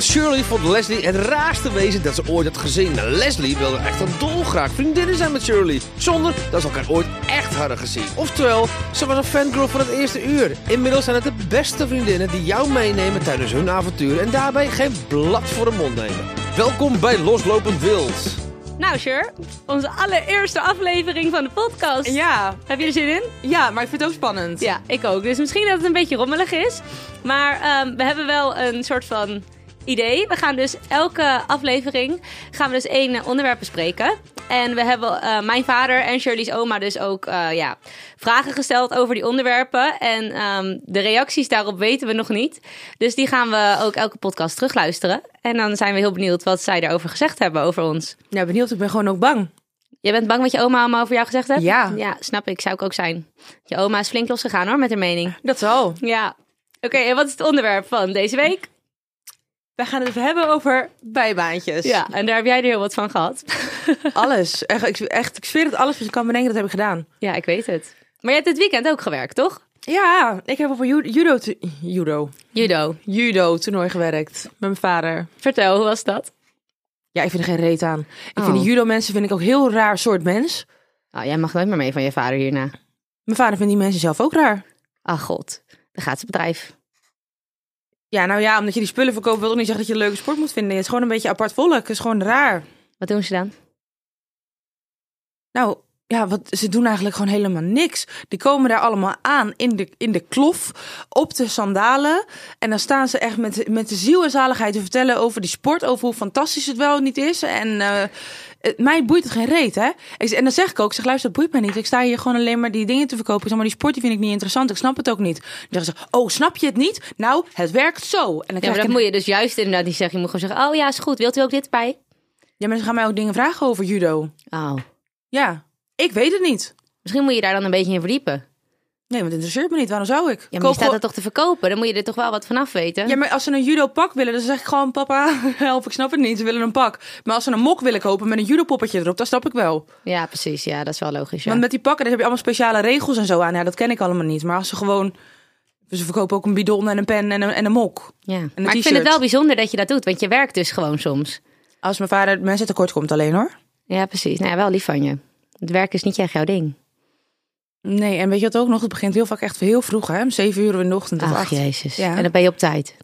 Shirley vond Leslie het raarste wezen dat ze ooit had gezien. Nou, Leslie wilde echt een dolgraag vriendinnen zijn met Shirley. Zonder dat ze elkaar ooit echt hadden gezien. Oftewel, ze was een fangirl van het eerste uur. Inmiddels zijn het de beste vriendinnen die jou meenemen tijdens hun avontuur. En daarbij geen blad voor de mond nemen. Welkom bij Loslopend Wild. Nou, Sher, onze allereerste aflevering van de podcast. Ja, Heb je er zin in? ja, maar ik vind het ook spannend. Ja, ik ook. Dus misschien dat het een beetje rommelig is. Maar ehm, we hebben wel een soort van idee. We gaan dus elke aflevering gaan we dus één eh, onderwerp bespreken. En we hebben eh, mijn vader en Shirley's oma dus ook eh, ja, vragen gesteld over die onderwerpen. En ehm, de reacties daarop weten we nog niet. Dus die gaan we ook elke podcast terugluisteren. En dan zijn we heel benieuwd wat zij daarover gezegd hebben over ons. Nou, benieuwd. Ik ben gewoon ook bang. Jij bent bang wat je oma allemaal over jou gezegd heeft? Ja. Ja, snap ik. Zou ik ook zijn. Je oma is flink losgegaan hoor, met haar mening. Dat zal. Ja. Oké, en wat is het onderwerp van deze week? We gaan het even hebben over bijbaantjes. Ja, en daar heb jij er heel wat van gehad. Alles. Echt, ik, echt, ik zweer dat alles wat ik kan bedenken, dat heb ik gedaan. ja, ik weet het. Maar je hebt dit weekend ook gewerkt, toch? Ja, ik heb op een ju- judo, to- judo, Judo. judo toernooi gewerkt. Met mijn vader. Vertel, hoe was dat? Ja, ik vind er geen reet aan. Ik Oh. vind die judo mensen vind ik ook heel raar soort mens. Oh, jij mag nooit meer mee van je vader hierna. Mijn vader vindt die mensen zelf ook raar. Ach god, dan gaat het bedrijf. Ja, nou ja, omdat je die spullen verkoopt, wil toch niet zeggen dat je een leuke sport moet vinden. Het is gewoon een beetje apart volk. Het is gewoon raar. Wat doen ze dan? Nou, ja, wat, ze doen eigenlijk gewoon helemaal niks. Die komen daar allemaal aan in de, in de klof, op de sandalen. En dan staan ze echt met, met de ziel en zaligheid te vertellen over die sport, over hoe fantastisch het wel niet is. En eh, het, mij boeit het geen reet, hè? Ik, en dan zeg ik ook, ik zeg, luister, dat boeit mij niet. Ik sta hier gewoon alleen maar die dingen te verkopen. Ik zeg, maar die sport die vind ik niet interessant, ik snap het ook niet. Dan zeggen ze, oh, snap je het niet? Nou, het werkt zo. En dan krijg Ja, maar ik dat een- moet je dus juist inderdaad niet zeggen. Je moet gewoon zeggen, oh ja, is goed. Wilt u ook dit bij? ja, mensen gaan mij ook dingen vragen over judo. Oh, Ja, ik weet het niet. misschien moet je daar dan een beetje in verdiepen. Nee, want het interesseert me niet. Waarom zou ik? Ja, maar je Koop staat gewoon- dat toch te verkopen? Dan moet je er toch wel wat vanaf weten? Ja, maar als ze een judo pak willen, dan zeg ik gewoon: Papa, help, ik snap het niet. Ze willen een pak. Maar als ze een mok willen kopen met een judo poppetje erop, dan snap ik wel. Ja, precies. Ja, dat is wel logisch. Ja. Want met die pakken daar heb je allemaal speciale regels en zo aan. Ja, dat ken ik allemaal niet. Maar als ze gewoon. dus Ze verkopen ook een bidon en een pen en een, en een mok. ja. een Maar ik vind t-shirt. het wel bijzonder dat je dat doet, want je werkt dus gewoon soms. Als mijn vader mensen tekort komt, alleen hoor. Ja, precies. Nou ja, wel lief van je. Het werk is niet echt jouw ding. Nee, en weet je wat ook nog? Het begint heel vaak echt heel vroeg, hè? Om zeven uur in de ochtend. of Ach, acht. jezus. Ja. En dan ben je op tijd.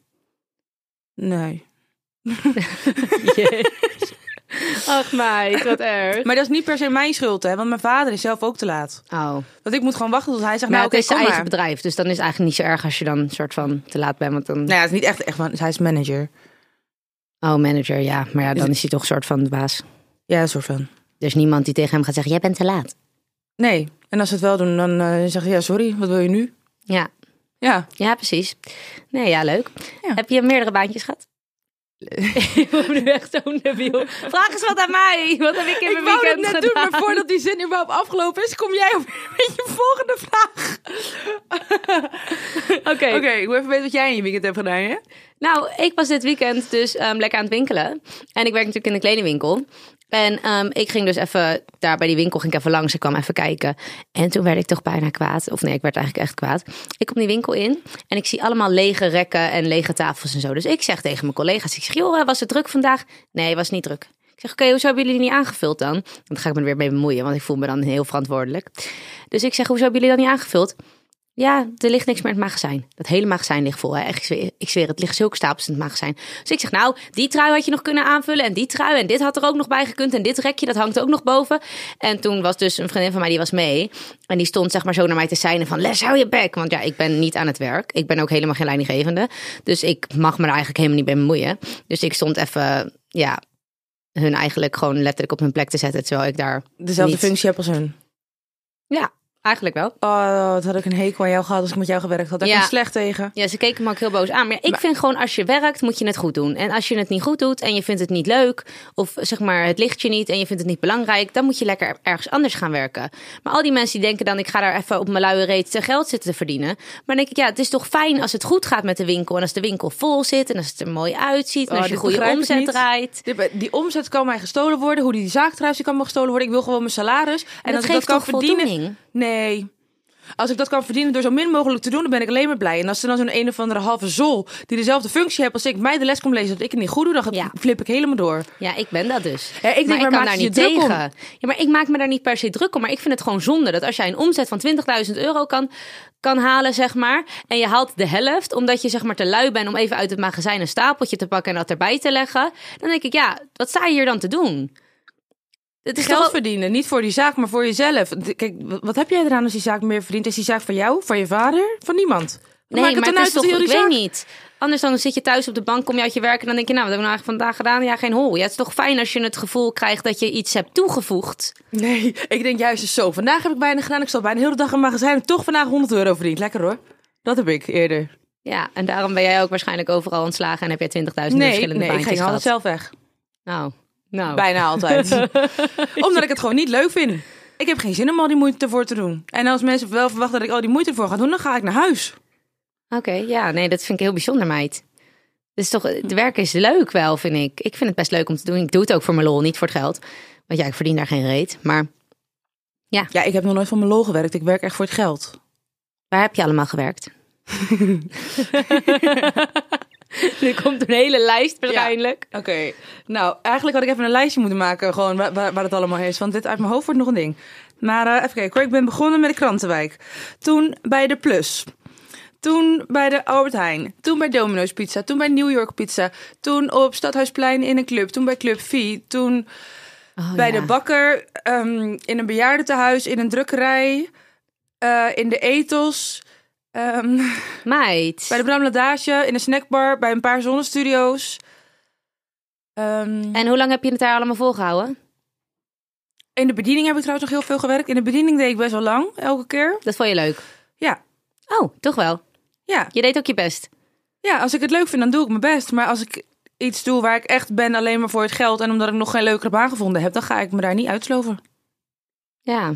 Nee. Ach, meid, wat erg. Maar dat is niet per se mijn schuld, hè? Want mijn vader is zelf ook te laat. Oh, Want ik moet gewoon wachten tot hij zegt: maar Nou, het oké, is zijn kom eigen maar. bedrijf, dus dan is het eigenlijk niet zo erg als je dan een soort van te laat bent. Want dan... Nou ja, het is niet echt, echt, want hij is manager. Oh, manager, ja. Maar ja, dan is hij toch een soort van de baas. Ja, een soort van. Er is niemand die tegen hem gaat zeggen, jij bent te laat. Nee. En als ze het wel doen, dan eh zeg je ja, sorry, wat wil je nu? Ja, Ja. ja precies. Nee, ja, leuk. Ja. Heb je meerdere baantjes gehad? Ik word nu echt zo'n debiel. Vraag eens wat aan mij. Wat heb ik in mijn weekend gedaan? die zin überhaupt afgelopen is, kom jij met je volgende vraag. Oké, Oké, ik wil even weten wat jij in je weekend hebt gedaan, hè? Nou, ik was dit weekend dus ehm, lekker aan het winkelen. En ik werk natuurlijk in de kledingwinkel. En ehm, ik ging dus even daar bij die winkel ging ik even langs. Ik kwam even kijken. En toen werd ik toch bijna kwaad. Of nee, ik werd eigenlijk echt kwaad. Ik kom die winkel in en ik zie allemaal lege rekken en lege tafels en zo. Dus ik zeg tegen mijn collega's: ik zeg, joh, eh, was het druk vandaag? Nee, het was niet druk. Ik zeg, oké, hoezo hebben jullie niet aangevuld dan? Want dan ga ik me er weer mee bemoeien, want ik voel me dan heel verantwoordelijk. Dus ik zeg, hoezo hebben jullie dat niet aangevuld? Ja, er ligt niks meer in het magazijn. Dat hele magazijn ligt vol. Hè? Echt, ik, zweer, ik zweer, het ligt zulke stapels in het magazijn. Dus ik zeg, nou, die trui had je nog kunnen aanvullen. En die trui. En dit had er ook nog bij gekund. En dit rekje, dat hangt ook nog boven. En toen was dus een vriendin van mij, die was mee. En die stond zeg maar zo naar mij te zijn van, Les, hou je bek. Want ja, ik ben niet aan het werk. Ik ben ook helemaal geen leidinggevende. Dus ik mag me er eigenlijk helemaal niet bij bemoeien. Dus ik stond even, ja, hun eigenlijk gewoon letterlijk op hun plek te zetten. Terwijl ik daar, Dezelfde Niet. functie heb als hun. ja, eigenlijk wel. Oh, wat had ik een hekel aan jou gehad als ik met jou gewerkt had. Daar Ja. kom ik slecht tegen. Ja, ze keken me ook heel boos aan. Maar ja, ik vind gewoon als je werkt, moet je het goed doen. En als je het niet goed doet en je vindt het niet leuk, of zeg maar het ligt je niet en je vindt het niet belangrijk, dan moet je lekker ergens anders gaan werken. Maar al die mensen die denken dan, ik ga daar even op mijn luie reet geld zitten te verdienen. Maar dan denk ik, ja, het is toch fijn als het goed gaat met de winkel. En als de winkel vol zit en als het er mooi uitziet en Oh, als je dit Ah, goede begrijp ik omzet niet. draait. Die, die omzet kan mij gestolen worden. Hoe die zaak trouwens die kan me gestolen worden. Ik wil gewoon mijn salaris. En dat als ik geeft dat kan toch verdienen. voldoening? Nee. Als ik dat kan verdienen door zo min mogelijk te doen, dan ben ik alleen maar blij. En als er dan zo'n een of andere halve zol die dezelfde functie heeft als ik, mij de les komt lezen dat ik het niet goed doe, dan ga- Ja. flip ik helemaal door. Ja, ik ben dat dus. Ja, ik denk, waar ik kan maak daar je je niet druk om? tegen. Ja, maar ik maak me daar niet per se druk om. Maar ik vind het gewoon zonde dat als jij een omzet van 20.000 euro kan, kan halen, zeg maar. En je haalt de helft omdat je zeg maar te lui bent om even uit het magazijn een stapeltje te pakken en dat erbij te leggen. Dan denk ik, ja, wat sta je hier dan te doen? Het is Geld toch wel- verdienen, niet voor die zaak, maar voor jezelf. D- Kijk, w- wat heb jij eraan als die zaak meer verdient? Is die zaak van jou, van je vader, van niemand? Wat Nee, maakt het maar dan het is uit dat toch, heel ik die weet niet. zaak- Anders dan zit je thuis op de bank, kom je uit je werk en dan denk je, nou, wat hebben we nou eigenlijk vandaag gedaan? Ja, geen hol. Ja, het is toch fijn als je het gevoel krijgt dat je iets hebt toegevoegd. Nee, ik denk juist eens zo. Vandaag heb ik bijna gedaan. Ik zat bijna de hele dag in het magazijn. En toch vandaag 100 euro verdiend. Lekker hoor. Dat heb ik eerder. Ja, en daarom ben jij ook waarschijnlijk overal ontslagen en heb jij 20.000 Nee, verschillende nee ik baantjes ging altijd gehad. zelf weg. Nou, nou. Bijna altijd. Omdat ik het gewoon niet leuk vind. Ik heb geen zin om al die moeite ervoor te doen. En als mensen wel verwachten dat ik al die moeite ervoor ga doen, dan ga ik naar huis. Oké, ja, nee, dat vind ik heel bijzonder, meid. Dus toch, het werk is leuk wel, vind ik. Ik vind het best leuk om te doen. Ik doe het ook voor mijn lol, niet voor het geld. Want ja, ik verdien daar geen reet. Maar Ja, ik heb nog nooit van mijn lol gewerkt. Ik werk echt voor het geld. waar heb je allemaal gewerkt? nu komt een hele lijst waarschijnlijk. Oké. Nou, eigenlijk had ik even een lijstje moeten maken. Gewoon waar, waar, waar het allemaal is. Want dit uit mijn hoofd wordt nog een ding. Maar eh, even kijken hoor. Ik ben begonnen met de Krantenwijk. Toen bij de Plus. Toen bij de Albert Heijn. Toen bij Domino's Pizza. Toen bij New York Pizza. Toen op Stadhuisplein in een club. Toen bij Club V. Toen Oh, bij ja. de bakker. ehm, in een bejaardentehuis. In een drukkerij. eh, in de Ethos. ehm, Meid. bij de Bram Ladage. In een snackbar. Bij een paar zonnestudio's. Ehm, En hoe lang heb je het daar allemaal volgehouden? In de bediening heb ik trouwens nog heel veel gewerkt. In de bediening deed ik best wel lang, elke keer. Dat vond je leuk? Ja. Oh, toch wel. Ja, Je deed ook je best. ja als ik het leuk vind, dan doe ik mijn best. Maar als ik iets doe waar ik echt ben alleen maar voor het geld... en omdat ik nog geen leukere baan gevonden heb... dan ga ik me daar niet uitsloven. Ja.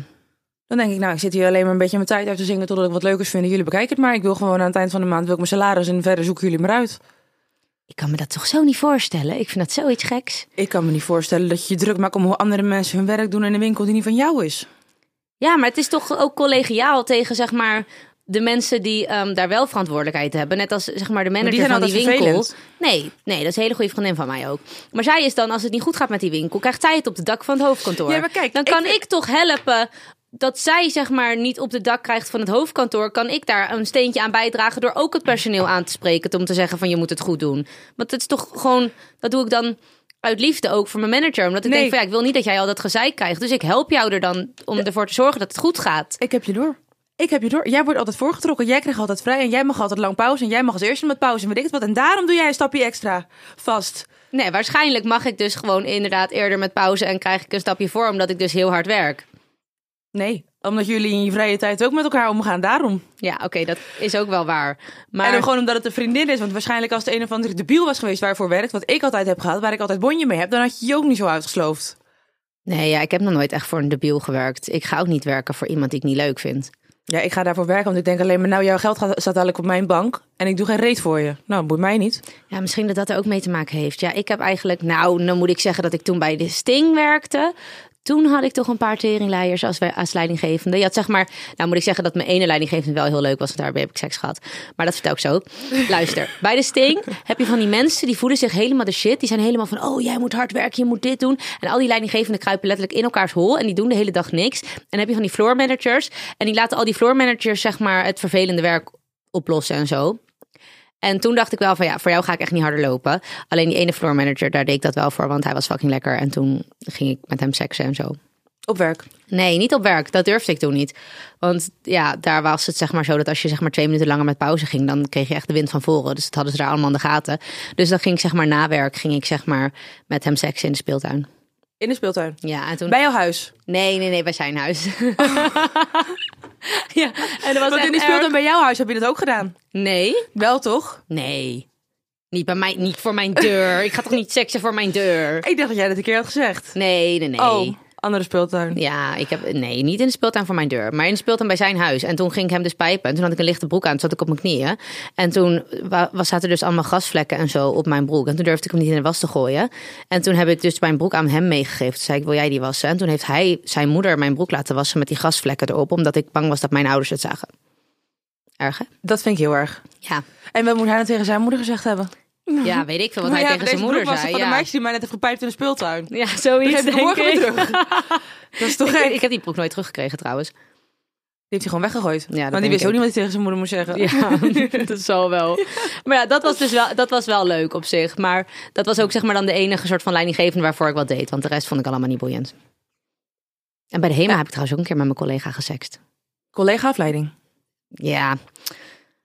Dan denk ik, nou, ik zit hier alleen maar een beetje mijn tijd uit te zingen... totdat ik wat leukers vind. Jullie bekijken het maar. Ik wil gewoon aan het eind van de maand wil ik mijn salaris... en verder zoeken jullie maar uit. Ik kan me dat toch zo niet voorstellen? Ik vind dat zoiets geks. Ik kan me niet voorstellen dat je je druk maakt... om hoe andere mensen hun werk doen in een winkel die niet van jou is. Ja, maar het is toch ook collegiaal tegen zeg maar de mensen die ehm, daar wel verantwoordelijkheid hebben. Net als zeg maar de manager die zijn van die altijd winkel. vervelend. Nee, nee, dat is een hele goede vriendin van mij ook. Maar zij is dan, als het niet goed gaat met die winkel, krijgt zij het op het dak van het hoofdkantoor. Ja, maar kijk, dan ik kan ik, vind- toch helpen dat zij zeg maar niet op het dak krijgt van het hoofdkantoor. Kan ik daar een steentje aan bijdragen door ook het personeel aan te spreken. Om te zeggen van je moet het goed doen. Want het is toch gewoon, dat doe ik dan... Uit liefde ook voor mijn manager. Omdat ik Nee. denk van ja, ik wil niet dat jij al dat gezeik krijgt. Dus ik help jou er dan om ervoor te zorgen dat het goed gaat. Ik heb je door. Ik heb je door. Jij wordt altijd voorgetrokken. Jij krijgt altijd vrij. En jij mag altijd lang pauze. En jij mag als eerste met pauze. En weet ik het wat. En daarom doe jij een stapje extra. Vast. Nee, waarschijnlijk mag ik dus gewoon inderdaad eerder met pauze en krijg ik een stapje voor, omdat ik dus heel hard werk. Nee. Omdat jullie in je vrije tijd ook met elkaar omgaan. Daarom. Ja, oké, dat is ook wel waar. En Maar ook gewoon omdat het een vriendin is. Want waarschijnlijk als het een of andere debiel was geweest waarvoor werkt. Wat ik altijd heb gehad. Waar ik altijd bonje mee heb. Dan had je je ook niet zo uitgesloofd. nee, ja, ik heb nog nooit echt voor een debiel gewerkt. Ik ga ook niet werken voor iemand die ik niet leuk vind. Ja, ik ga daarvoor werken. Want ik denk alleen maar. Nou, jouw geld gaat, staat dadelijk op mijn bank. En ik doe geen reet voor je. Nou, boeit mij niet. Ja, misschien dat dat er ook mee te maken heeft. Ja, ik heb eigenlijk, nou, dan moet ik zeggen dat ik toen bij de Sting werkte. Toen had ik toch een paar teringleiers als, we- als leidinggevende. Je had zeg maar, nou moet ik zeggen dat mijn ene leidinggevende wel heel leuk was, want daarbij heb ik seks gehad. Maar dat vertel ik zo. Luister, bij de Sting heb je van die mensen die voelen zich helemaal de shit. Die zijn helemaal van, oh jij moet hard werken, je moet dit doen. En al die leidinggevenden kruipen letterlijk in elkaars hol en die doen de hele dag niks. En dan heb je van die floor managers en die laten al die floor managers zeg maar het vervelende werk oplossen en zo. En toen dacht ik wel van ja, voor jou ga ik echt niet harder lopen. Alleen die ene floor manager, daar deed ik dat wel voor, want hij was fucking lekker. En toen ging ik met hem seksen en zo. Op werk. Nee, niet op werk. Dat durfde ik toen niet. Want ja, daar was het zeg maar zo dat als je zeg maar twee minuten langer met pauze ging, dan kreeg je echt de wind van voren. Dus dat hadden ze daar allemaal in de gaten. Dus dan ging ik zeg maar na werk, ging ik zeg maar met hem seksen in de speeltuin. In de speeltuin. Ja, en toen... Bij jouw huis. Nee, nee, nee, bij zijn huis. ja, en dat was Want echt in die speeltuin erg. bij jouw huis heb je dat ook gedaan. Nee. Wel toch? Nee. Niet bij mij, niet voor mijn deur. Ik ga toch niet seksen voor mijn deur? Ik dacht dat jij dat een keer had gezegd. Nee, nee, nee. Oh, andere speeltuin. Ja, ik heb, nee, niet in de speeltuin voor mijn deur, maar in de speeltuin bij zijn huis. En toen ging ik hem dus pijpen. En toen had ik een lichte broek aan, toen zat ik op mijn knieën. En toen wa- was, zaten dus allemaal gasvlekken en zo op mijn broek. En toen durfde ik hem niet in de was te gooien. En toen heb ik dus mijn broek aan hem meegegeven. Toen zei ik, wil jij die wassen? En toen heeft hij, zijn moeder, mijn broek laten wassen met die gasvlekken erop. Omdat ik bang was dat mijn ouders het zagen. Erg, hè? Dat vind ik heel erg. Ja, En wat moet hij nou tegen zijn moeder gezegd hebben? ja weet ik veel wat Maar hij ja, tegen zijn deze moeder broek was er zei. van ja. de meisje die mij net heeft gepijpt in de speeltuin. Ja, zoiets Geef het denk morgen ik. weer terug. Dat is toch gek? Ik, Die ik heb die broek nooit teruggekregen trouwens. heeft hij gewoon weggegooid. dat Want die denk wist ik. ook niet wat hij tegen zijn moeder moest zeggen. Ja, dat zal wel. Maar ja, dat was dus wel, dat was wel leuk op zich. Maar dat was ook zeg maar dan de enige soort van leidinggevende waarvoor ik wat deed. Want de rest vond ik allemaal niet boeiend. En bij de HEMA heb ik trouwens ook een keer met mijn collega gesext. Collega afleiding. Ja.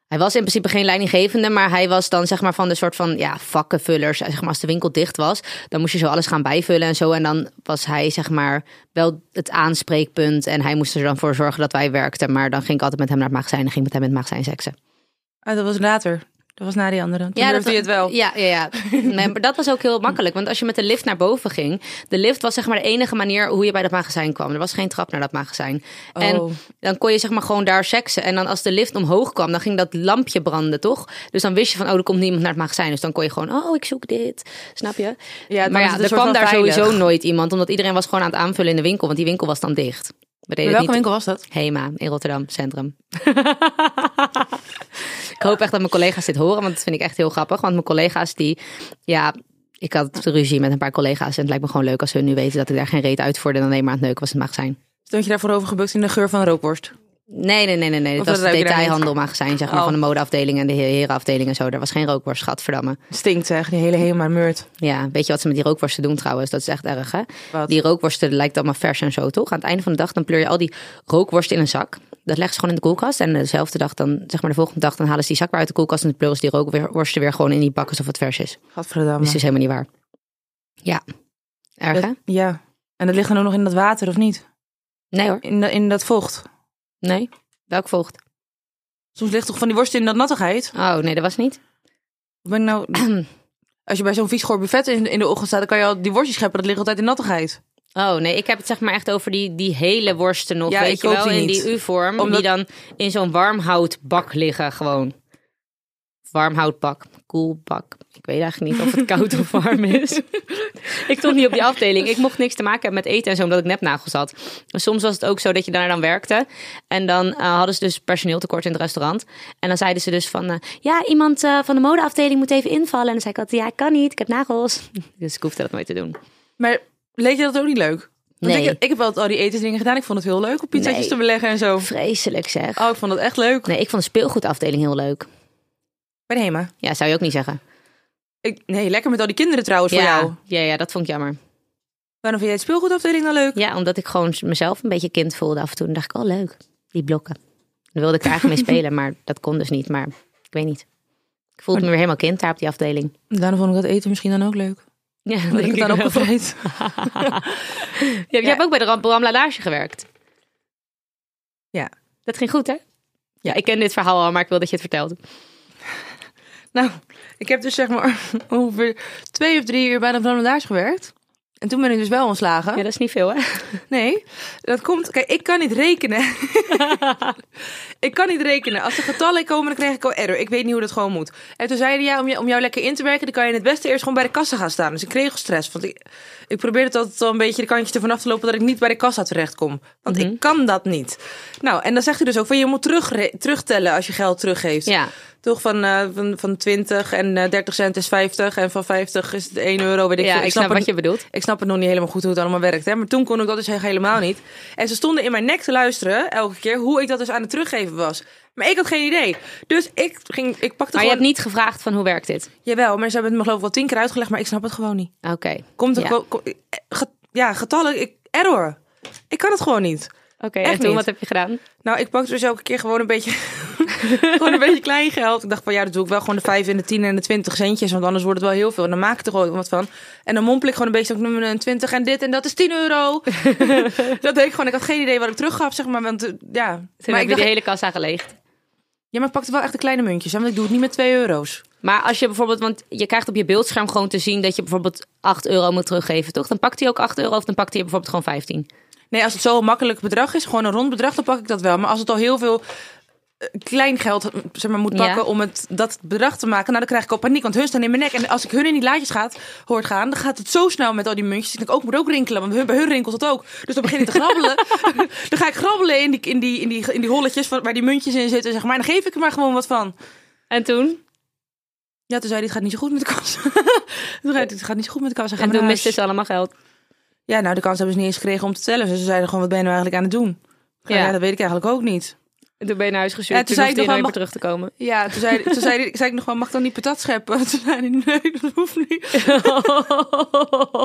Hij was in principe geen leidinggevende, maar hij was dan zeg maar van de soort van ja, vakkenvullers. Zeg maar als de winkel dicht was, dan moest je zo alles gaan bijvullen en zo. En dan was hij zeg maar wel het aanspreekpunt. En hij moest er dan voor zorgen dat wij werkten. Maar dan ging ik altijd met hem naar het magazijn en ging met hem in het magazijn seksen. Ah, dat was later. Dat was na die andere. Toen ja, dat durfde hij het wel. Ja, ja, ja. Nee, maar dat was ook heel makkelijk. Want als je met de lift naar boven ging... De lift was zeg maar de enige manier hoe je bij dat magazijn kwam. Er was geen trap naar dat magazijn. Oh. En dan kon je zeg maar gewoon daar seksen. En dan als de lift omhoog kwam, dan ging dat lampje branden, toch? Dus dan wist je van, oh, er komt niemand naar het magazijn. Dus dan kon je gewoon, oh, ik zoek dit. Snap je? Ja, dan maar is ja, het een er soort kwam van daar veilig. sowieso nooit iemand. Omdat iedereen was gewoon aan het aanvullen in de winkel. Want die winkel was dan dicht. We deden Bij het welke niet- winkel was dat? Hema in Rotterdam Centrum. ik hoop echt dat mijn collega's dit horen, want dat vind ik echt heel grappig. Want mijn collega's die, ja, ik had ruzie met een paar collega's en het lijkt me gewoon leuk als hun nu weten dat ik daar geen reet uitvoerde en alleen maar aan het neuken was in het magazijn. Stond je daarvoor overgebukt in de geur van rookworst? Nee, nee, nee, nee, nee. Of Dat dat was het ruik je daar niet? detailhandelmagazijn, zeg maar, Oh. van de modeafdeling en de herenafdeling en zo. Daar was geen rookworst, gadverdamme. Stinkt zeg, die hele helemaal meurt. Ja, weet je wat ze met die rookworsten doen trouwens? Dat is echt erg, hè? Wat? Die rookworsten lijkt allemaal vers en zo, toch? Aan het einde van de dag dan pleur je al die rookworsten in een zak. Dat leggen ze gewoon in de koelkast. En dezelfde dag dan, zeg maar de volgende dag, dan halen ze die zak weer uit de koelkast. En dan pleuren ze die rookworsten weer gewoon in die bak alsof het vers is. Gadverdamme. Dus dat is helemaal niet waar. Ja. Erg, hè? Dat- ja. En dat ligt dan ook nog in dat water, of niet? Nee hoor. In, da- in dat vocht. Nee. Welk vocht? Soms ligt toch van die worst in dat nattigheid? Oh, nee, dat was niet. Of ben ik nou... Als je bij zo'n vies goor buffet in, in de ochtend staat, dan kan je al die worstjes scheppen. Dat ligt altijd in nattigheid. Oh, nee, ik heb het zeg maar echt over die, die hele worsten nog, Ja, weet ik je koop wel? die in niet. die U-vorm, Omdat- die dan in zo'n warmhoutbak liggen gewoon. Warmhoutbak, koelbak. Ik weet eigenlijk niet of het koud of warm is. ik stond niet op die afdeling. Ik mocht niks te maken hebben met eten en zo, omdat ik nepnagels had. En soms was het ook zo dat je daar dan werkte. En dan eh, hadden ze dus personeeltekort in het restaurant. En dan zeiden ze dus van... eh, ja, iemand eh, van de modeafdeling moet even invallen. En dan zei ik altijd, ja, ik kan niet, ik heb nagels. Dus ik hoefde dat nooit te doen. Maar leek je dat ook niet leuk? Want Nee. ik, ik heb wel al die etensdingen gedaan. Ik vond het heel leuk om pizzatjes Nee. te beleggen en zo. Vreselijk zeg. Oh, ik vond dat echt leuk. Nee, ik vond de speelgoedafdeling heel leuk. Bij de Hema. Ja, zou je ook niet zeggen. Ik, nee, lekker met al die kinderen trouwens voor ja, jou. Ja, ja, dat vond ik jammer. Waarom vind jij het speelgoedafdeling dan leuk? Ja, omdat ik gewoon mezelf een beetje kind voelde af en toe. Dan dacht ik, oh leuk, die blokken. Dan wilde ik er eigenlijk mee spelen, maar dat kon dus niet. Maar ik weet niet. Ik voelde me weer helemaal kind daar op die afdeling. Daarom vond ik dat eten misschien dan ook leuk. Ja, dat Dat ik het dan ook Je bevrijd. hebt, je hebt ook bij de Ram- Bram Ladage gewerkt. Ja. Dat ging goed, hè? Ja, ik ken dit verhaal al, maar ik wil dat je het Oh. vertelt. Nou, ik heb dus zeg maar ongeveer twee of drie uur bij de Vlaamse gewerkt. En toen ben ik dus wel ontslagen. Ja, dat is niet veel, hè? Nee, dat komt. Kijk, ik kan niet rekenen. ik kan niet rekenen. Als er getallen komen, dan krijg ik al error. Ik weet niet hoe dat gewoon moet. En toen zeiden ja, om, je, om jou lekker in te werken, dan kan je het beste eerst gewoon bij de kassa gaan staan. Dus ik kreeg al stress. Want ik, ik probeerde altijd wel een beetje de kantje ervan af te lopen dat ik niet bij de kassa terecht kom. Want Mhm. ik kan dat niet. Nou, en dan zegt hij dus ook van je moet terug, terugtellen als je geld teruggeeft. Ja. Toch van, eh, van, van 20 en eh, 30 cent is 50 en van 50 is het 1 euro. Weet ik Ja, veel. ik snap eh, het- wat je bedoelt. ik snap het nog niet helemaal goed hoe het allemaal werkt. Hè? Maar toen kon ik dat dus echt helemaal niet. En ze stonden in mijn nek te luisteren elke keer hoe ik dat dus aan het teruggeven was. Maar ik had geen idee. Dus ik ging, ik pakte Maar je gewoon... hebt niet gevraagd van hoe werkt dit? Jawel, maar ze hebben het me geloof ik wel tien keer uitgelegd, maar ik snap het gewoon niet. Oké. Komt er Ja. wel- kom- eh, ge- ja, getallen, ik, error. Ik kan het gewoon niet. Oké, Echt en toen, niet. wat heb je gedaan? Nou, ik pakte dus elke keer gewoon een beetje, gewoon een beetje klein geld. Ik dacht van ja, dat doe ik wel gewoon de 5 en de 10 en de 20 centjes. Want anders wordt het wel heel veel. En dan maak ik er gewoon wat van. En dan mompel ik gewoon een beetje zo, ik noem een 20 en dit en dat is 10 euro. dat deed ik gewoon. Ik had geen idee wat ik teruggaf, zeg maar. Want eh, ja. Toen heb maar ik je dacht, de hele kassa geleegd. ja, maar ik pakte wel echt de kleine muntjes. Hè, want ik doe het niet met 2 euro's. Maar als je bijvoorbeeld, want je krijgt op je beeldscherm gewoon te zien dat je bijvoorbeeld 8 euro moet teruggeven, toch? Dan pakt hij ook 8 euro of dan pakt hij bijvoorbeeld gewoon 15. Nee, als het zo'n makkelijk bedrag is, gewoon een rond bedrag, dan pak ik dat wel. Maar als het al heel veel eh, klein geld zeg maar, moet Ja. pakken om het, dat bedrag te maken, nou, dan krijg ik al paniek. Want hun staan in mijn nek. En als ik hun in die laadjes gaat, hoort gaan, dan gaat het zo snel met al die muntjes. Ik denk, ook moet ook rinkelen, want hun, bij hun rinkelt het ook. Dus dan begin ik te grabbelen. dan ga ik grabbelen in die, in die, in die, in die holletjes van- waar die muntjes in zitten. Zeg maar, en dan geef ik er maar gewoon wat van. En toen? Ja, toen zei hij, het gaat niet zo goed met de kans. toen zei hij, het gaat niet zo goed met de kans. En toen miste ze allemaal geld. Ja, nou, de kans hebben ze niet eens gekregen om te tellen. Dus ze zeiden gewoon, wat ben je nou eigenlijk aan het doen? Ik zei, Ja. ja, dat weet ik eigenlijk ook niet. En toen ben je naar huis gestuurd. En toen zei ik nog hoefde je wel, nooit meer terug te komen. Ja, toen zei, toen zei, zei ik nog wel, mag ik dan niet patat scheppen? Toen zei hij, nee, dat hoeft niet.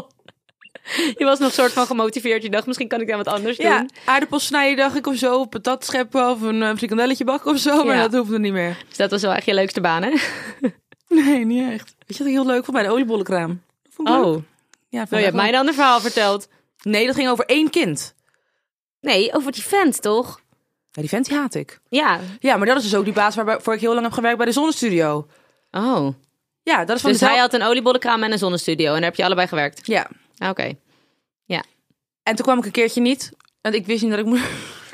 je was nog soort van gemotiveerd. Je dacht, misschien kan ik daar wat anders Ja, doen. aardappels snijden dacht ik of zo, of patat scheppen of een eh, frikandelletje bakken of zo. Maar Ja. dat hoeft er niet meer. Dus dat was wel echt je leukste baan, hè? Oh, Nee, niet echt. Weet je wat ik heel leuk vond bij de oliebollenkraam? Oh. Dat vond ik leuk. Ja, Nou, vond je ik hebt mij leuk. dan een verhaal verteld. Nee, dat ging over één kind. Nee, over die vent, toch? Ja, die vent die haat ik. Ja. Ja, maar dat is dus ook die baas waarvoor ik heel lang heb gewerkt bij de zonnestudio. Oh. Ja, dat is van Dus dezelfde- hij had een oliebollenkraam en een zonnestudio. En daar heb je allebei gewerkt. Ja, Ah, Oké. En toen kwam ik een keertje niet. Want ik wist niet dat ik moest...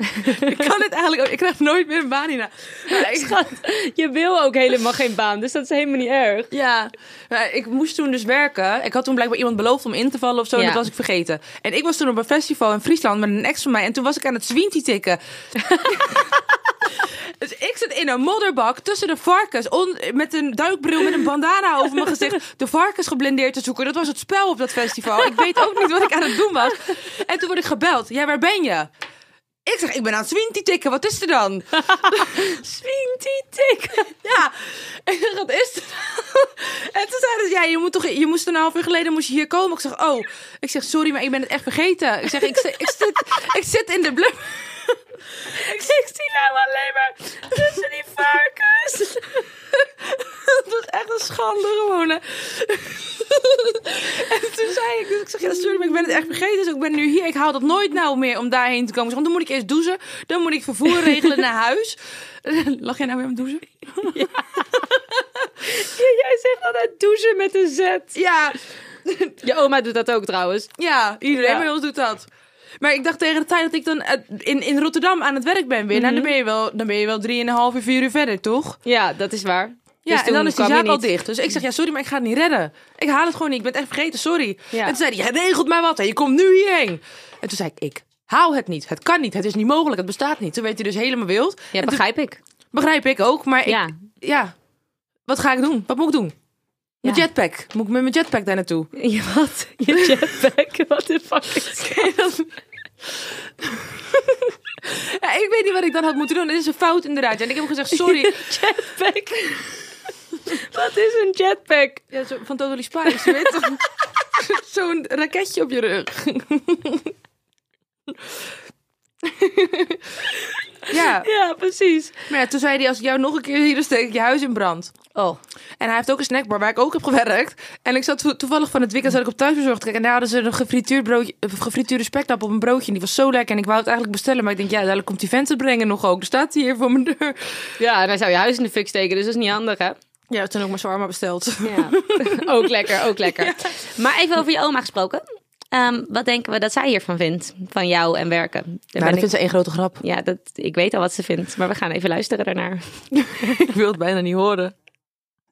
ik kan het eigenlijk ook... Ik krijg nooit meer een baan hierna. Maar ik- Je wil ook helemaal geen baan, dus dat is helemaal niet erg. Ja, maar ik moest toen dus werken. Ik had toen blijkbaar iemand beloofd om in te vallen of zo. En Ja. dat was ik vergeten. En ik was toen op een festival in Friesland met een ex van mij. En toen was ik aan het zwintie tikken. dus ik zit in een modderbak tussen de varkens. on- met een duikbril met een bandana over mijn gezicht. De varkens geblendeerd te zoeken. Dat was het spel op dat festival. Ik weet ook niet wat ik aan het doen was. En toen word ik gebeld. Ja, waar ben je? Ik zeg, ik ben aan het zwintie tikken. Wat is er dan? Swinty tik. Ja, ik zeg, wat is het? En toen zeiden ze, ja, je, moet toch, je moest een half uur geleden moest je hier komen. Ik zeg, oh, ik zeg, sorry, maar ik ben het echt vergeten. Ik zeg, ik, zit- ik, zit, ik zit in de blub. Ik zie nou alleen maar tussen die varkens. Dat was echt een schande gewoon. hè. En toen zei ik, dus ik zeg, ja, sorry, maar ik ben het echt vergeten. Dus ik ben nu hier. Ik haal dat nooit nou meer om daarheen te komen. Ik zeg, Want dan moet ik eerst douchen. Dan moet ik vervoer regelen naar huis. Lag jij nou weer om douchen? Jij zegt altijd douchen met een Z. Ja, Je oma doet dat ook trouwens. Ja, iedereen Ja. bij ons doet dat. Maar ik dacht tegen de tijd dat ik dan eh, in, in Rotterdam aan het werk ben weer. Nou, dan ben je wel, dan ben je wel drieënhalf uur, vier uur verder, toch? Ja, dat is waar. Ja, Dus en dan toen is die kwam je zaak al niet. dicht. Dus ik zeg, ja, sorry, maar ik ga het niet redden. Ik haal het gewoon niet. Ik ben het echt vergeten, sorry. Ja. En toen zei hij, jij regelt mij wat en je komt nu hierheen. En toen zei ik, ik haal het niet. Het kan niet. Het is niet mogelijk. Het bestaat niet. Toen werd hij dus helemaal wild. Ja, En toen- begrijp ik. begrijp ik ook, maar ik, ja. Ja. Wat ga ik doen? Wat moet ik doen? Mijn Ja. jetpack. Moet ik met mijn jetpack daar naartoe? Je wat? Je jetpack? Wat de fuck Ja, ik weet niet wat ik dan had moeten doen. Dit is een fout inderdaad. En ik heb hem gezegd, sorry. jetpack? Wat is een jetpack? Ja, zo, van Totally Spies, je weet toch? Zo'n raketje op je rug. ja, Ja, precies. maar ja, toen zei hij, als ik jou nog een keer hier doe, steek ik je huis in brand. Oh. En hij heeft ook een snackbar waar ik ook heb gewerkt. En ik zat to- toevallig van het weekend zat ik op thuisbezorgd te kijken. En daar hadden ze een gefrituurd broodje, eh, gefrituurde speknap op een broodje. En die was zo lekker. En ik wou het eigenlijk bestellen. Maar ik denk, ja, dadelijk komt die vent het brengen nog ook. Er staat hij hier voor mijn deur. Ja, en hij zou je huis in de fik steken, dus dat is niet handig, hè? Ja, toen ook mijn shawarma besteld. Ja. ook lekker, ook lekker. Maar even over je oma gesproken. Ehm, wat denken we dat zij hiervan vindt? Van jou en werken. Daar Nou, dat ben ik- vindt ze één grote grap. Ja, dat, ik weet al wat ze vindt. Maar we gaan even luisteren daarnaar. Ik wil het bijna niet horen.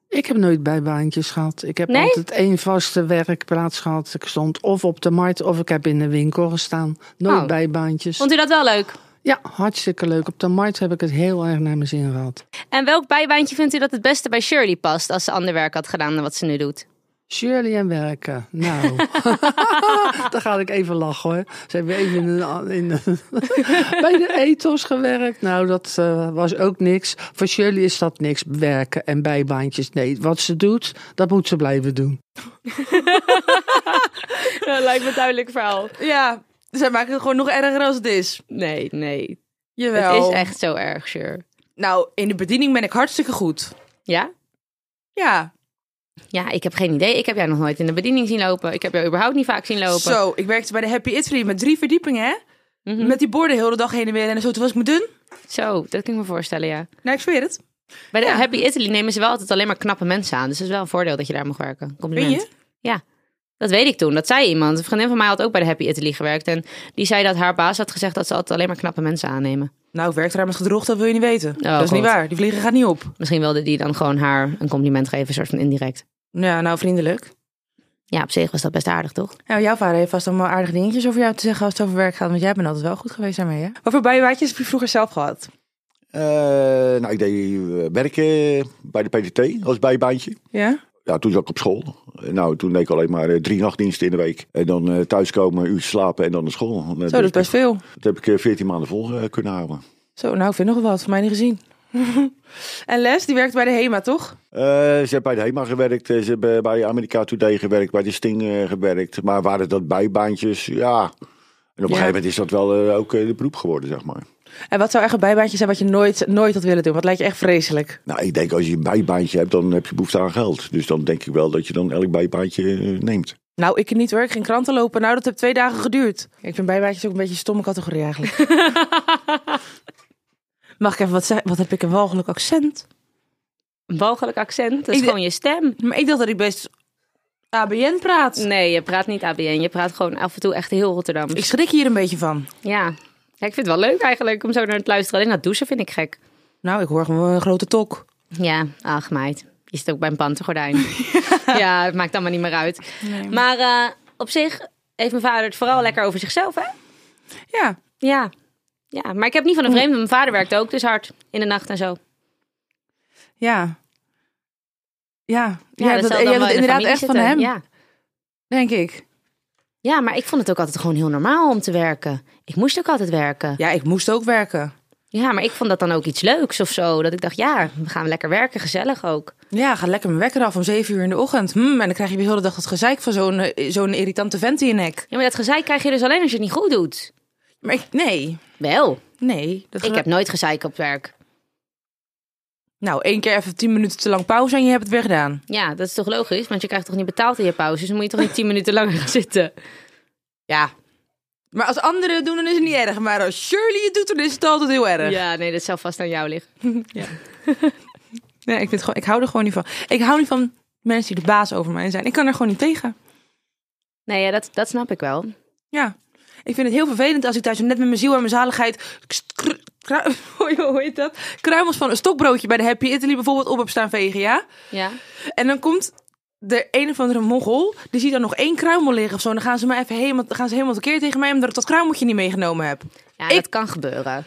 Ik heb nooit bijbaantjes gehad. Ik heb Nee? altijd één vaste werkplaats gehad. Ik stond of op de markt of ik heb in de winkel gestaan. Nooit Oh. bijbaantjes. Vond u dat wel leuk? Ja, hartstikke leuk. Op de markt heb ik het heel erg naar mijn zin gehad. En welk bijbaantje vindt u dat het beste bij Shirley past als ze ander werk had gedaan dan wat ze nu doet? Shirley en werken. Nou, daar ga ik even lachen hoor. Ze hebben even in een- in een- bij de ethos gewerkt. Nou, dat eh, was ook niks. Voor Shirley is dat niks. Werken en bijbaantjes. Nee, wat ze doet, dat moet ze blijven doen. lijkt me een duidelijk verhaal. Ja, zij maken het gewoon nog erger als het is. Nee, nee. Jawel. Het is echt zo erg, Shir. Nou, in de bediening ben ik hartstikke goed. Ja? Ja, Ja, ik heb geen idee. Ik heb jij nog nooit in de bediening zien lopen. Ik heb jou überhaupt niet vaak zien lopen. zo. Ik werkte bij de Happy Italy met drie verdiepingen, hè? Mhm. Met die borden heel de dag heen en weer. En zo, toen was ik me dun. Zo, dat kan ik me voorstellen, ja. Nou, ik zweer het. Bij de Ja. Happy Italy nemen ze wel altijd alleen maar knappe mensen aan. Dus het is wel een voordeel dat je daar mag werken. Weet Compliment. je? Dat weet ik toen. Dat zei iemand. Een vriendin van mij had ook bij de Happy Italy gewerkt. En die zei dat haar baas had gezegd dat ze altijd alleen maar knappe mensen aannemen. Nou, ik werk daar met gedrocht, dat wil je niet weten. dat is goed. niet waar. Die vlieger gaat niet op. Misschien wilde die dan gewoon haar een compliment geven, een soort van indirect. Ja, nou, vriendelijk. Ja, op zich was dat best aardig, toch? Nou, jouw vader heeft vast allemaal aardige dingetjes over jou te zeggen als het over werk gaat. Want jij bent altijd wel goed geweest daarmee, hè? Wat voor bijbaantjes heb je vroeger zelf gehad? Eh, nou, ik deed eh, werken bij de PTT als bijbaantje. Ja? Ja, toen zat ik op school. Eh, Nou, toen deed ik alleen maar eh, drie nachtdiensten in de week. En dan eh, thuiskomen, een uurtje slapen en dan naar school. En, eh, Zo, dat is best veel. Dat heb ik eh, 14 maanden vol eh, kunnen houden. Zo, nou, ik vind nog wel wat. Voor mij niet gezien. en Les, die werkt bij de HEMA, toch? Eh, ze hebben bij de HEMA gewerkt, eh, ze hebben bij Amerika Today gewerkt, bij de Sting eh, gewerkt. Maar waren dat bijbaantjes? Ja. En op een gegeven moment is dat wel eh, ook eh, de beroep geworden, zeg maar. En wat zou echt een bijbaantje zijn wat je nooit, nooit had willen doen? Wat lijkt je echt vreselijk? Nou, ik denk als je een bijbaantje hebt, dan heb je behoefte aan geld. Dus dan denk ik wel dat je dan elk bijbaantje eh, neemt. Nou, ik niet hoor. Ik ging kranten lopen. Nou, dat heeft twee dagen geduurd. Kijk, ik vind bijbaantjes ook een beetje een stomme categorie eigenlijk. Mag ik even wat zeggen? Wat heb ik een walgelijk accent? Een walgelijk accent. Dat is Ik- gewoon je stem. Maar ik dacht dat ik best ABN praat. Nee, je praat niet ABN. Je praat gewoon af en toe echt heel Rotterdams. Ik schrik hier een beetje van. Ja. ja, ik vind het wel leuk eigenlijk om zo naar het luisteren. Alleen dat douchen vind ik gek. Nou, ik hoor gewoon een grote tok. Ja, ach meid. Je zit ook bij een pantergordijn. ja. het maakt allemaal niet meer uit. Maar eh, op zich heeft mijn vader het vooral lekker over zichzelf, hè? Ja. Ja. Ja, maar ik heb niet van een vreemde. Mijn vader werkt ook dus hard in de nacht en zo. Ja. Ja. Ja, dat dat, zal je dan hebt wel het in de inderdaad familie echt van zitten. hem, Ja. denk ik. ja, maar ik vond het ook altijd gewoon heel normaal om te werken. Ik moest ook altijd werken. Ja, ik moest ook werken. Ja, maar ik vond dat dan ook iets leuks of zo. Dat ik dacht, ja, we gaan lekker werken, gezellig ook. Ja, ga lekker mijn wekker af om zeven uur in de ochtend. Hm, en dan krijg je weer de hele dag dat gezeik van zo'n eh, zo'n irritante vent in je nek. Ja, maar dat gezeik krijg je dus alleen als je het niet goed doet. Maar ik, nee, Wel, nee. Dat ik ge- heb nooit gezeik op werk. Nou, één keer even tien minuten te lang pauze en je hebt het weer gedaan. Ja, dat is toch logisch? Want je krijgt toch niet betaald in je pauze? Dus dan moet je toch niet tien minuten langer gaan zitten? Ja. Maar als anderen het doen, dan is het niet erg. Maar als Shirley het doet, dan is het altijd heel erg. Ja, nee, dat zal vast aan jou liggen. Nee, ik, vind het gewoon, ik hou er gewoon niet van. Ik hou niet van mensen die de baas over mij zijn. Ik kan er gewoon niet tegen. Nee, ja, dat, dat snap ik wel. Ja. Ik vind het heel vervelend als ik thuis net met mijn ziel en mijn zaligheid... kst- kru- kru- Hoe heet dat? Kruimels van een stokbroodje bij de Happy Italy bijvoorbeeld op heb staan vegen, ja? Ja. En dan komt de een of andere mongol, die ziet dan nog één kruimel liggen of zo. En dan gaan ze, mij even helemaal, dan gaan ze helemaal tekeer tegen mij omdat ik dat kruimeltje niet meegenomen heb. Ja, Ik- dat kan gebeuren.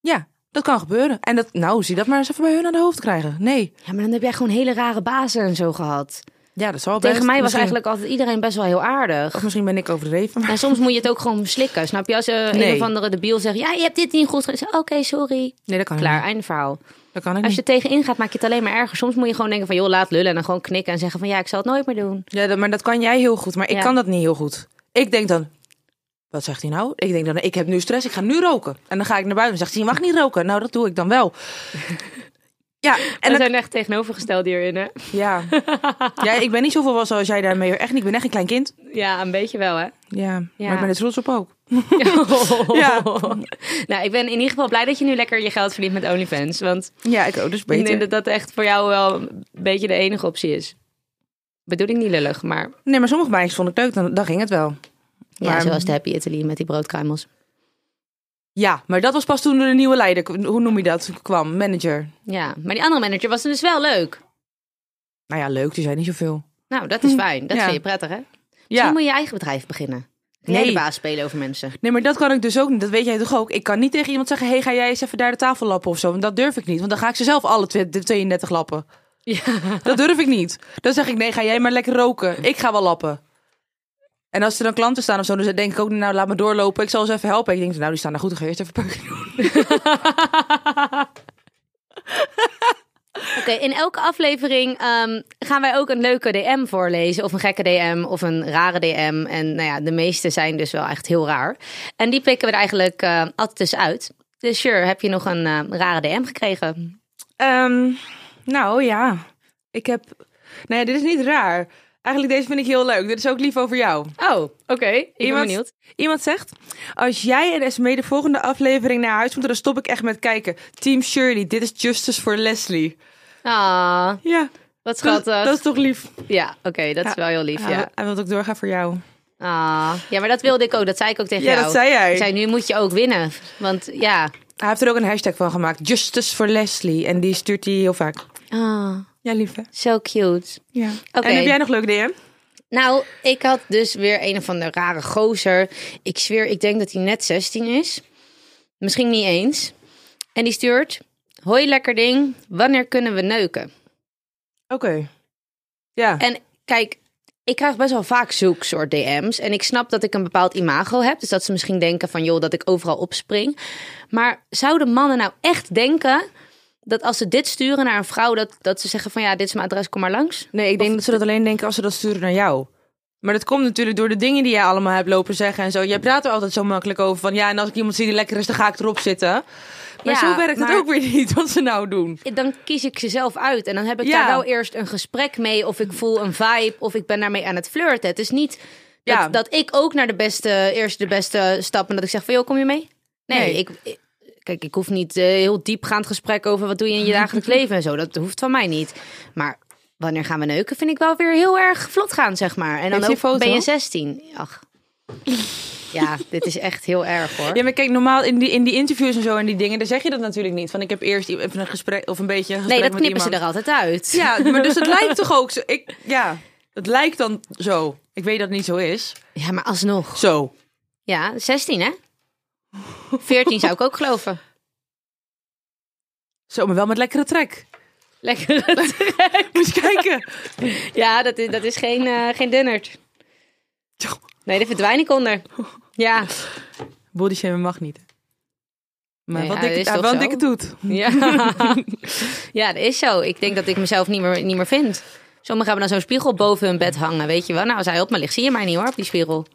Ja, dat kan gebeuren. En dat, nou, zie dat maar eens even bij hun aan de hoofd krijgen. Nee. Ja, maar dan heb jij gewoon hele rare bazen en zo gehad. Ja, dat zal wel Tegen best. mij was Misschien- eigenlijk altijd iedereen best wel heel aardig. Of misschien ben ik overdreven. Maar... En soms moet je het ook gewoon slikken, snap je? Als eh, een Nee. of andere debiel zegt, ja, je hebt dit niet goed gedaan. Oké, sorry. Nee, dat kan ik Klaar, niet. einde verhaal. Dat kan ik Als niet. je er tegenin gaat, maak je het alleen maar erger. Soms moet je gewoon denken van, joh, laat lullen. En dan gewoon knikken en zeggen van, ja, ik zal het nooit meer doen. Ja, dat- maar dat kan jij heel goed. Maar ik Ja. kan dat niet heel goed. Ik denk dan, wat zegt hij nou? Ik denk dan, ik heb nu stress, ik ga nu roken. En dan ga ik naar buiten en zegt hij, je mag niet roken. Nou, dat doe ik dan wel. Ja, en En we dat, zijn echt tegenovergesteld hierin, hè? ja. ja, ik ben niet zoveel was als jij daarmee. hoor. Echt niet, ik ben echt een klein kind. Ja, een beetje wel, hè? Ja, maar ik ben er trots op ook. ja. Nou, ik ben in ieder geval blij dat je nu lekker je geld verdient met OnlyFans. Want Ja, ik ook, dus ik beter. denk dat dat echt voor jou wel een beetje de enige optie is. Bedoel ik niet lullig, maar Nee, maar sommige meisjes vond ik leuk, dan, dan ging het wel. Ja, Maar- zoals de Happy Italy met die broodkruimels. Ja, maar dat was pas toen er een nieuwe leider, hoe noem je dat, kwam. Manager. Ja, maar die andere manager was dus wel leuk. Nou ja, leuk, die zijn niet zoveel. Nou, dat is fijn. Dat Ja. vind je prettig, hè? Ja. Misschien moet je je eigen bedrijf beginnen. Nee. Nee. de baas spelen over mensen. Nee, maar dat kan ik dus ook niet. Dat weet jij toch ook? Ik kan niet tegen iemand zeggen: hey, ga jij eens even daar de tafel lappen of zo. Want dat durf ik niet. Want dan ga ik ze zelf alle twe- de 32 lappen. Dat durf ik niet. Dan zeg ik: nee, ga jij maar lekker roken. Ik ga wel lappen. En als er dan klanten staan of zo, dan denk ik ook: nou, laat me doorlopen. Ik zal ze even helpen. Ik denk: nou, die staan daar goed. Dan ga je eerst even peuken doen. Oké, in elke aflevering ehm, gaan wij ook een leuke DM voorlezen. Of een gekke DM of een rare DM. En nou ja, de meeste zijn dus wel echt heel raar. En die pikken we er eigenlijk eh, altijd dus uit. Dus sure, heb je nog een eh, rare DM gekregen? Ehm, nou ja, ik heb. Nou ja, dit is niet raar. Eigenlijk, deze vind ik heel leuk. Dit is ook lief over jou. Oh, oké. Ik ben Iemand- benieuwd. Iemand zegt: Als jij en SME de volgende aflevering naar huis moeten, dan stop ik echt met kijken. Team Shirley, dit is justice voor Leslie. Ah, Ja, wat dat, schattig. dat is toch lief? Ja, oké, dat is Ja. wel heel lief, ja. Hij, hij wil ook doorgaan voor jou. Ah, ja, maar dat wilde ik ook. Dat zei ik ook tegen Ja, jou. dat zei jij. Ik zei, nu moet je ook winnen. Want ja. Hij heeft er ook een hashtag van gemaakt: Justice for Leslie. En die stuurt hij heel vaak. Ah, Ja, lieve. zo cute. Ja. Oké. En heb jij nog leuke DM? Nou, ik had dus weer een of andere rare gozer. Ik zweer, ik denk dat hij net 16 is. Misschien niet eens. En die stuurt... Hoi, lekker ding. Wanneer kunnen we neuken? Oké. Ja. En kijk, ik krijg best wel vaak zulke soort DM's. En ik snap dat ik een bepaald imago heb. Dus dat ze misschien denken van, joh, dat ik overal opspring. Maar zouden mannen nou echt denken... dat als ze dit sturen naar een vrouw... dat, dat ze zeggen van, ja, dit is mijn adres, kom maar langs? Nee, ik denk dat ze dat alleen denken als ze dat sturen naar jou. Maar dat komt natuurlijk door de dingen die jij allemaal hebt lopen zeggen en zo. Jij praat er altijd zo makkelijk over van ja, en als ik iemand zie die lekker is, dan ga ik erop zitten. Maar Ja, zo werkt maar- het ook weer niet wat ze nou doen. dan kies ik ze zelf uit. En dan heb ik Ja. daar wel eerst een gesprek mee. Of ik voel een vibe. Of ik ben daarmee aan het flirten. Het is niet dat, Ja. dat ik ook naar de beste, eerst de beste stap. En dat ik zeg van, joh, kom je mee? Nee, Nee. Ik, ik- Kijk, ik hoef niet eh, heel diepgaand gesprek over wat doe je in je dagelijks leven en zo. Dat hoeft van mij niet. Maar wanneer gaan we neuken vind ik wel weer heel erg vlot gaan, zeg maar. En dan Heeft hij ook, foto? ben je 16. Ach. Ja, dit is echt heel erg hoor. Ja, maar kijk, normaal in die, in die interviews en zo en die dingen, daar zeg je dat natuurlijk niet. Van ik heb eerst i- even een gesprek of een beetje een nee, gesprek dat met knippen ze er iemand. altijd uit. Ja, maar dus het lijkt toch ook zo. Ik, ja, het lijkt dan zo. Ik weet dat het niet zo is. ja maar alsnog. Zo. Ja, 16 hè? 14 zou ik ook geloven. Zo, maar wel met lekkere trek. Lekker. Moet je kijken. Ja, dat is, dat is geen, eh, geen dunnert. Nee, daar verdwijn ik onder. Ja. Body shaming mag niet. Maar Nee, wat ja, dikke, dat is ah, toch wat zo? dikke doet. ja. Ja, dat is zo. Ik denk dat ik mezelf niet meer, niet meer vind. Sommigen hebben dan zo'n spiegel boven hun bed hangen, weet je wel. Nou, als hij op me ligt, zie je mij niet hoor, op die spiegel.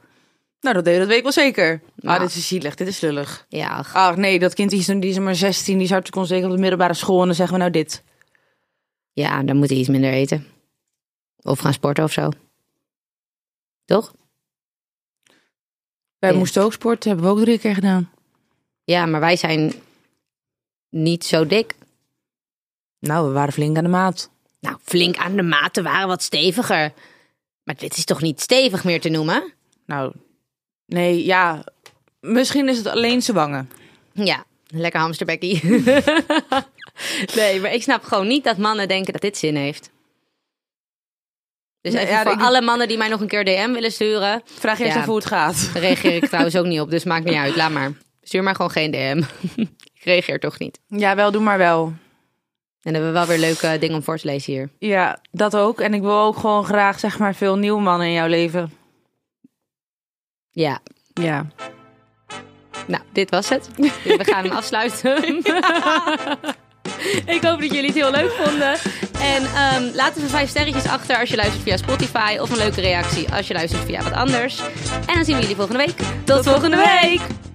Nou, dat, deed- dat weet ik wel zeker. Nou. Ah, dit is zielig, dit is lullig. Ja, ach. Ach nee, dat kind die is, die is maar 16, die is hartstikke onzeker op de middelbare school. En dan zeggen we nou dit. ja, dan moet hij iets minder eten. Of gaan sporten of zo. Toch? Wij Ja. moesten ook sporten, hebben we ook drie keer gedaan. Ja, maar wij zijn niet zo dik. Nou, we waren flink aan de maat. Nou, flink aan de maten waren wat steviger. Maar dit is toch niet stevig meer te noemen? Nou, nee, ja. Misschien is het alleen zijn wangen. Ja, lekker hamsterbekkie. nee, maar ik snap gewoon niet dat mannen denken dat dit zin heeft. Dus Nee, even ja, voor ik- alle mannen die mij nog een keer DM willen sturen, Vraag eerst Ja. even hoe het gaat. daar reageer ik trouwens ook niet op. Dus maakt niet uit, laat maar. Stuur maar gewoon geen DM. ik reageer toch niet. Ja, wel, doe maar wel. En dan hebben we wel weer leuke dingen om voor te lezen hier. Ja, dat ook. En ik wil ook gewoon graag, zeg maar, veel nieuwe mannen in jouw leven. Ja, Ja. Nou, dit was het. We gaan hem afsluiten. Ik hoop dat jullie het heel leuk vonden. En ehm laat even vijf sterretjes achter als je luistert via Spotify. Of een leuke reactie als je luistert via wat anders. En dan zien we jullie volgende week. Tot, volgende week.